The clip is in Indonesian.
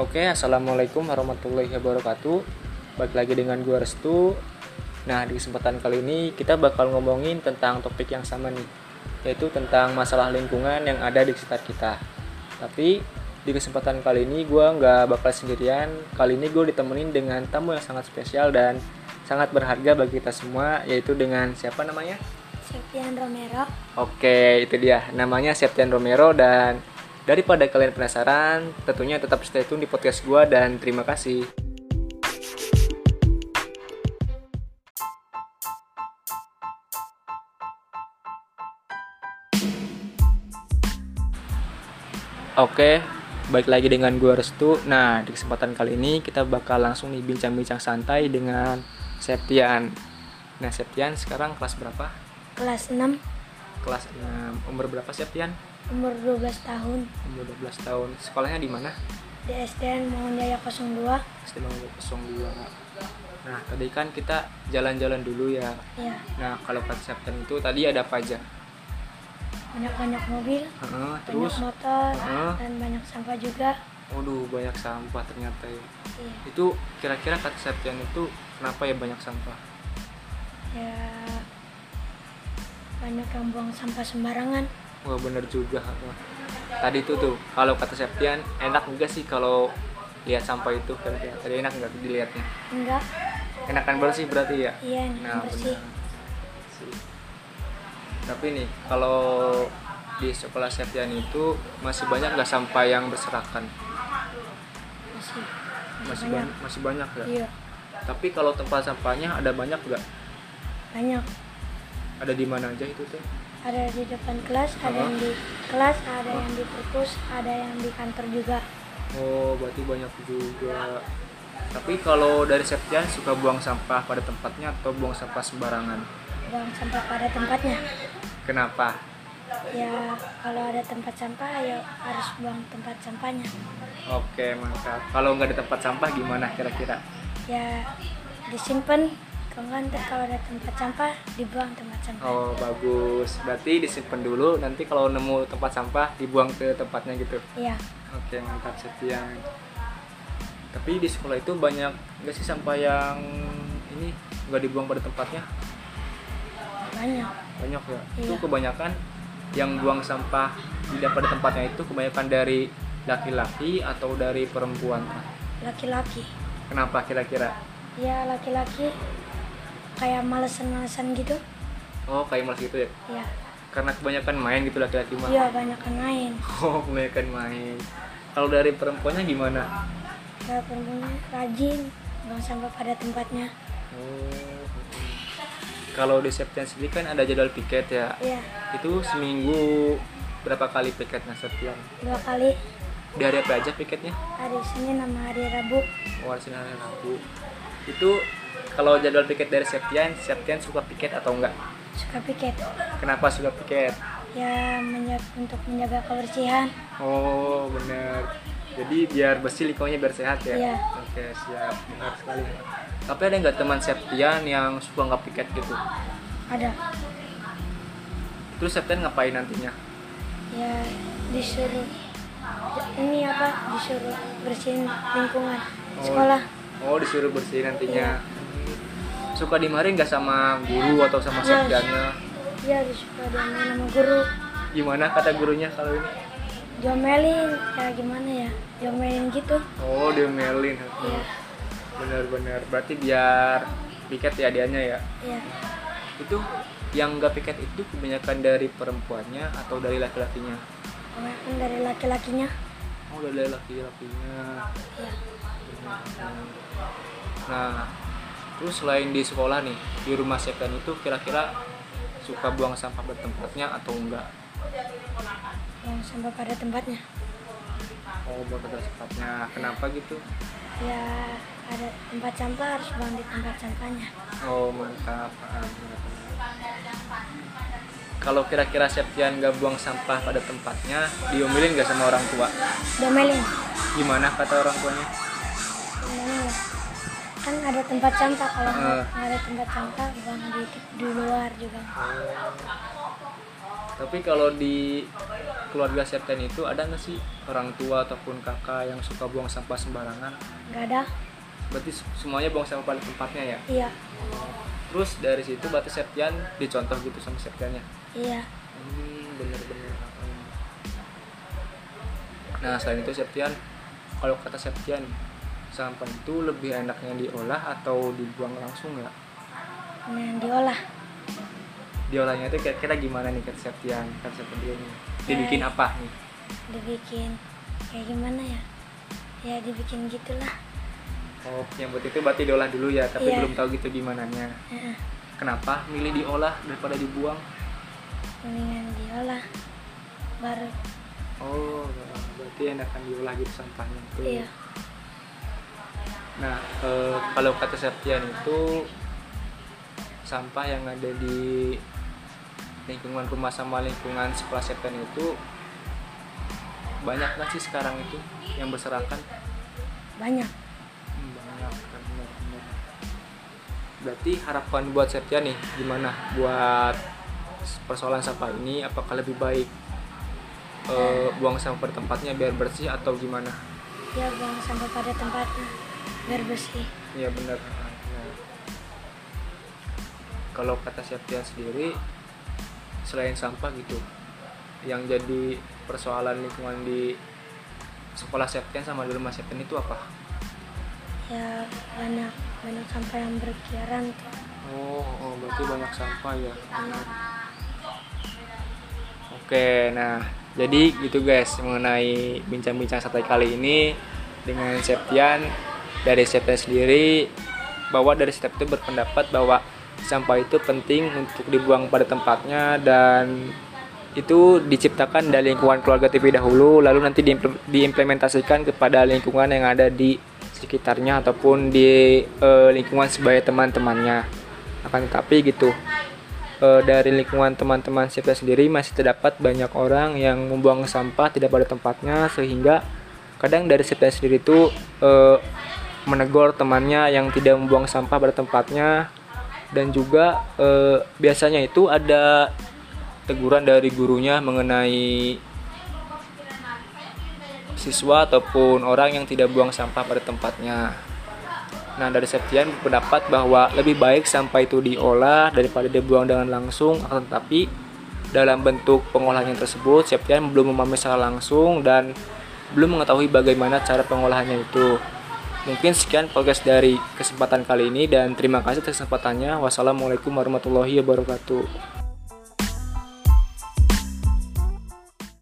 Oke, assalamualaikum warahmatullahi wabarakatuh. Balik lagi dengan gua Restu. Nah, di kesempatan kali ini kita bakal ngomongin tentang topik yang sama nih, yaitu tentang masalah lingkungan yang ada di sekitar kita. Tapi di kesempatan kali ini gua nggak bakal sendirian. Kali ini gue ditemenin dengan tamu yang sangat spesial dan sangat berharga bagi kita semua, yaitu dengan siapa namanya? Septian Romero. Oke, itu dia. Namanya Septian Romero dan daripada kalian penasaran, tentunya tetap stay tune di podcast gua dan terima kasih. Oke, baik lagi dengan gua Restu. Nah, di kesempatan kali ini kita bakal langsung nih bincang-bincang santai dengan Septian. Nah, Septian sekarang kelas berapa? Kelas 6, Kelas 6. Umur berapa Septian? umur 12 tahun. umur 12 tahun sekolahnya di mana Di SDN Mongjaya 02. SD Mangga 02 nah tadi kan kita jalan-jalan dulu ya Ya, nah kalau kata Septian itu tadi ada apa aja banyak-banyak mobil, Heeh, banyak terus Ah. motor, Hah? dan banyak sampah juga. waduh banyak sampah ternyata ya Iya. itu kira-kira kata Septian itu kenapa ya banyak sampah Ya, banyak yang buang sampah sembarangan. wah bener juga heeh. tadi itu tuh kalau kata Septian enak juga sih kalau lihat sampah itu kira-kira tadi enak nggak dilihatnya Enggak, enakan bersih berarti ya iya yang Nah, bersih. benar. Sih. Tapi nih, kalau di sekolah Septian itu masih banyak nggak sampah yang berserakan? Masih, Masih banyak. banyak, masih banyak ya. Iya, Tapi kalau tempat sampahnya ada banyak nggak? banyak. Ada di mana aja itu teh? Ada di depan kelas, ada Hah? yang di kelas, ada yang di perpus, ada yang di kantor juga. Oh, berarti banyak juga. Tapi kalau dari Septian suka buang sampah pada tempatnya atau buang sampah sembarangan? Buang sampah pada tempatnya. Kenapa? Ya, kalau ada tempat sampah ya harus buang tempat sampahnya. Oke, mantap. Kalau nggak ada tempat sampah gimana kira-kira? Ya disimpan. Kalau nggak, ntar kalau ada tempat sampah dibuang tempat sampah. Oh bagus, berarti disimpan dulu. Nanti kalau nemu tempat sampah dibuang ke tempatnya gitu. Iya, Oke mantap Septian. Tapi di sekolah itu banyak nggak sih sampah yang ini nggak dibuang pada tempatnya? banyak. Banyak ya. Iya. Itu kebanyakan yang buang sampah tidak pada tempatnya itu kebanyakan dari laki-laki atau dari perempuan. Laki-laki. Kenapa kira-kira? Ya laki-laki kayak malesan-malesan gitu. Oh kayak malas gitu ya? Ya, Karena kebanyakan main gitu laki-laki mah. iya banyak yang lain. Oh kebanyakan main. Kalau dari perempuannya gimana? Kalau Ya, perempuan rajin buang sampah pada tempatnya. Oh. Kalau di Septian sendiri kan ada jadwal piket ya. Ya, Itu seminggu berapa kali piketnya Septian? dua kali Di hari apa aja piketnya? hari Senin sama hari Rabu. Oh, hari Senin hari Rabu. Itu kalau jadwal piket dari Septian, Septian suka piket atau enggak? Suka piket. Kenapa suka piket? Ya menjaga, untuk menjaga kebersihan. Oh, bener. Jadi biar bersih lingkungannya biar sehat ya. Iya. Oke, siap. Benar sekali. Tapi ada nggak teman Septian yang suka nggak piket gitu? Ada. Terus Septian ngapain nantinya? ya disuruh ini apa disuruh bersihin lingkungan sekolah Oh, disuruh bersih nantinya. Suka dimarahin nggak sama guru atau sama Yes. sekdanya? ya disuruh dengan nama guru Gimana kata gurunya kalau ini? diomelin ya gimana ya diomelin gitu Oh, diomelin. ya Benar-benar. Berarti biar piket ya dianya ya. ya Itu yang nggak piket itu kebanyakan dari perempuannya atau dari laki-lakinya? kebanyakan dari laki-lakinya Oh, dari laki-lakinya. ya Nah, terus selain di sekolah nih, di rumah sekdan itu kira-kira suka buang sampah bertempatnya atau enggak? yang sampai pada tempatnya Oh, buang ke tempatnya. Kenapa gitu? ya ada tempat sampah harus buang di tempat sampahnya Oh mantap. Paham, paham. Kalau kira-kira Septian gak buang sampah pada tempatnya, diomelin gak sama orang tua? diomelin Gimana kata orang tuanya? gimana ya kan ada tempat sampah kalau nggak Eh. Hmm. nggak ada tempat sampah buang di di luar juga tapi kalau di keluarga Septen itu ada nggak sih orang tua ataupun kakak yang suka buang sampah sembarangan nggak ada berarti se- semuanya buang sampah pada tempatnya ya iya terus dari situ berarti Septian dicontoh gitu sama Septiannya iya hmm, bener-bener Hmm. nah selain itu Septian kalau kata Septian sampah itu lebih enaknya diolah atau dibuang langsung ya nah diolah diolahnya itu kira-kira gimana nih kata Septian kata Septian ini dibikin apa nih dibikin kayak gimana ya ya dibikin gitulah Oh, yang buat itu berarti diolah dulu ya, tapi Iya. belum tahu gitu gimananya. Heeh, Kenapa milih diolah daripada dibuang? mendingan diolah baru Oh, berarti enakan diolah gitu sampahnya itu. iya Nah, eh, kalau kata Septian itu sampah yang ada di lingkungan rumah sama lingkungan sekolah Septian itu banyak nggak sih sekarang itu yang berserakan? banyak Hmm, banyak kan, benar, benar. berarti harapan buat Septian nih gimana buat persoalan sampah ini apakah lebih baik eh, buang sampah pada tempatnya biar bersih atau gimana ya buang sampah pada tempatnya biar bersih Iya benar. Nah, Kalau kata Septian sendiri, selain sampah gitu, yang jadi persoalan lingkungan di sekolah Septian sama di rumah Septian itu apa? ya banyak banyak sampah yang berkiaran tuh Oh, oh, berarti banyak sampah ya. Oke, nah jadi gitu guys mengenai bincang-bincang santai kali ini dengan Septian dari Septian sendiri bahwa dari Septian itu berpendapat bahwa sampah itu penting untuk dibuang pada tempatnya dan itu diciptakan dari lingkungan keluarga TV dahulu lalu nanti diimple- diimplementasikan kepada lingkungan yang ada di sekitarnya ataupun di eh, lingkungan sebagai teman-temannya akan tetapi gitu eh, dari lingkungan teman-teman Sipda sendiri masih terdapat banyak orang yang membuang sampah tidak pada tempatnya sehingga kadang dari Sipda sendiri itu eh, menegur temannya yang tidak membuang sampah pada tempatnya dan juga eh, biasanya itu ada teguran dari gurunya mengenai siswa ataupun orang yang tidak buang sampah pada tempatnya. Nah, dari Septian berpendapat bahwa lebih baik sampah itu diolah daripada dibuang dengan langsung, akan tetapi dalam bentuk pengolahannya tersebut, Septian belum memahami secara langsung dan belum mengetahui bagaimana cara pengolahannya itu. Mungkin sekian podcast dari kesempatan kali ini dan terima kasih atas kesempatannya. Wassalamualaikum warahmatullahi wabarakatuh.